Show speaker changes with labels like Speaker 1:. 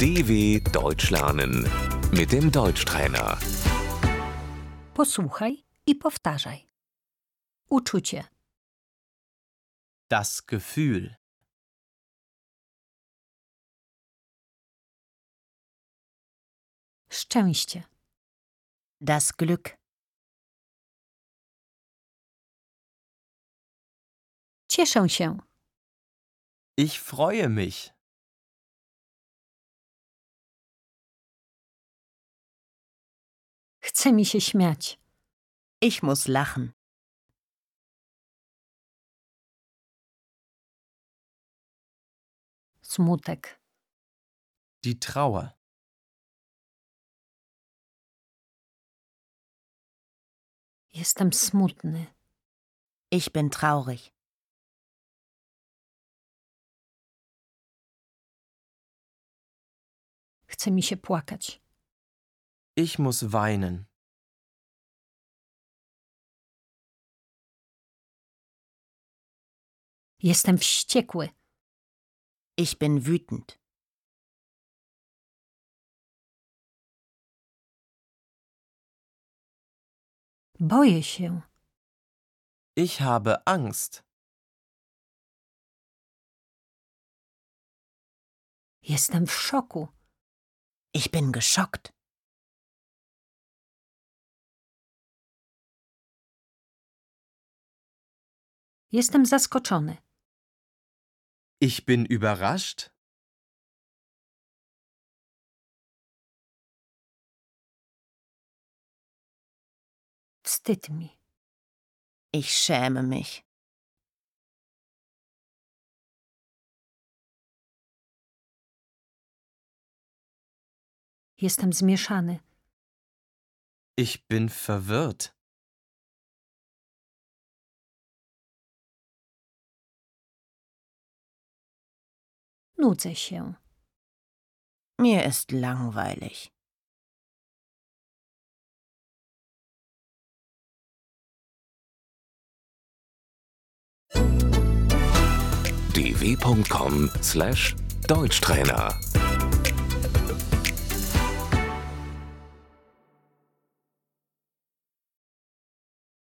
Speaker 1: DW Deutsch lernen mit dem Deutschtrainer.
Speaker 2: Posłuchaj i powtarzaj. Uczucie,
Speaker 3: Das Gefühl.
Speaker 2: szczęście,
Speaker 4: Das Glück,
Speaker 2: cieszę się,
Speaker 3: Ich freue mich.
Speaker 2: chce mi się śmiać,
Speaker 4: ich muss lachen,
Speaker 2: smutek,
Speaker 3: Die Trauer.
Speaker 2: jestem smutny,
Speaker 4: ich bin traurig,
Speaker 2: chce mi się płakać,
Speaker 3: Ich muss weinen.
Speaker 2: jestem wściekły,
Speaker 4: ich bin wütend,
Speaker 2: boję się,
Speaker 3: Ich habe Angst.
Speaker 2: jestem w szoku,
Speaker 4: ich bin geschockt,
Speaker 2: jestem zaskoczony,
Speaker 3: Ich bin überrascht.
Speaker 2: wstyd mi,
Speaker 4: ich schäme mich,
Speaker 2: jestem zmieszany,
Speaker 3: Ich bin verwirrt.
Speaker 2: nudzę się,
Speaker 4: mir ist langweilig,
Speaker 1: dw.com/deutschtrainer